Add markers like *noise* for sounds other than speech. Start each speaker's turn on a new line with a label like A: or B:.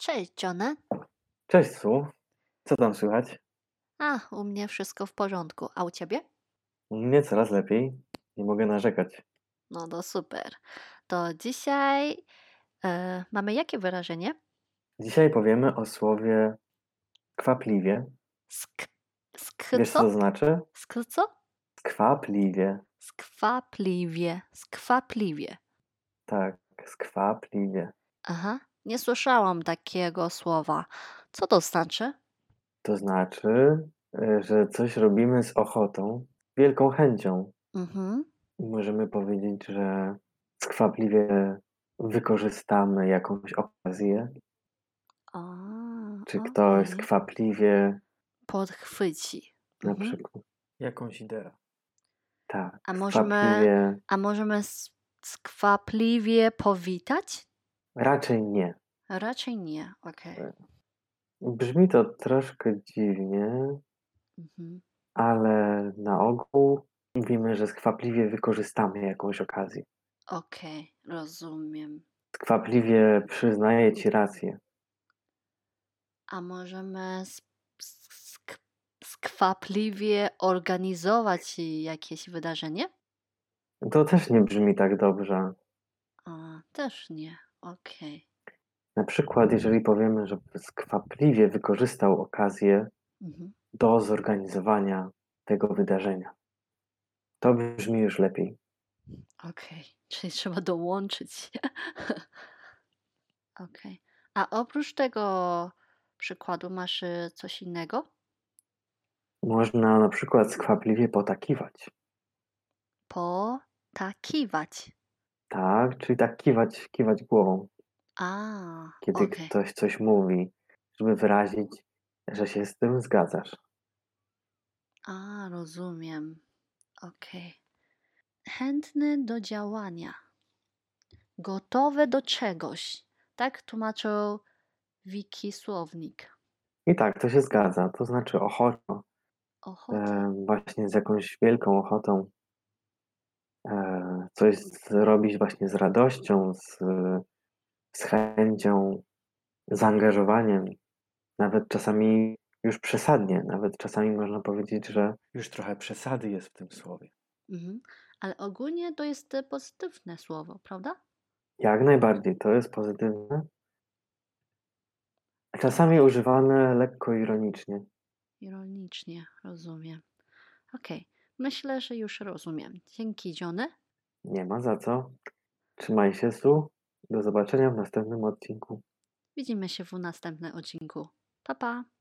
A: Cześć, Johna.
B: Cześć, Su. Co tam słychać?
A: A, u mnie wszystko w porządku. A u ciebie?
B: Mnie coraz lepiej. Nie mogę narzekać.
A: No to super. To dzisiaj e, mamy jakie wyrażenie?
B: Dzisiaj powiemy o słowie kwapliwie.
A: Sk,
B: Wiesz, co to
A: skco?
B: znaczy?
A: Skco?
B: Skwapliwie.
A: Skwapliwie. Skwapliwie.
B: Tak, skwapliwie.
A: Aha, nie słyszałam takiego słowa. Co to znaczy?
B: To znaczy, y, że coś robimy z ochotą, wielką chęcią.
A: Mhm.
B: I możemy powiedzieć, że skwapliwie wykorzystamy jakąś okazję,
A: A,
B: czy
A: okej.
B: ktoś skwapliwie
A: podchwyci.
B: na
A: Mhm.
B: przykład jakąś ideę. Tak,
A: A możemy-
B: skwapliwie
A: A możemy s- skwapliwie powitać?
B: raczej nie.
A: Raczej nie. Okej.
B: Tak. Brzmi to troszkę dziwnie,
A: Mhm.
B: ale na ogół mówimy, że skwapliwie wykorzystamy jakąś okazję.
A: Okej, rozumiem.
B: Skwapliwie przyznaję ci rację.
A: A możemy sk- sk- skwapliwie organizować jakieś wydarzenie?
B: To też nie brzmi tak dobrze.
A: A, też nie. Okej.
B: Na przykład, jeżeli powiemy, że skwapliwie wykorzystał okazję
A: Mhm.
B: do zorganizowania tego wydarzenia, to brzmi już lepiej.
A: Okej, czyli trzeba dołączyć. *laughs* Okej. A oprócz tego przykładu masz y, coś innego?
B: Można na przykład skwapliwie potakiwać.
A: Potakiwać.
B: Tak, czyli tak kiwać, kiwać głową.
A: A,
B: kiedy
A: okej.
B: ktoś coś mówi, żeby wyrazić, że się z tym zgadzasz.
A: A, rozumiem. Okej. Chętny do działania. Gotowy do czegoś. Tak tłumaczył wiki słownik.
B: I tak, to się zgadza. To znaczy ochotą,
A: Ochota.
B: e, właśnie z jakąś wielką ochotą e, coś zrobić właśnie z radością, z, z chęcią, zaangażowaniem. Nawet czasami już przesadnie, nawet czasami można powiedzieć, że już trochę przesady jest w tym słowie.
A: Mhm. Ale ogólnie to jest e, pozytywne słowo, prawda?
B: Jak najbardziej, to jest pozytywne. Czasami używane lekko ironicznie.
A: Ironicznie, rozumiem. Okej. Myślę, że już rozumiem. Dzięki, Dziony.
B: Nie ma za co. Trzymaj się, Su. Do zobaczenia w następnym odcinku.
A: Widzimy się w następnym odcinku. Pa, pa.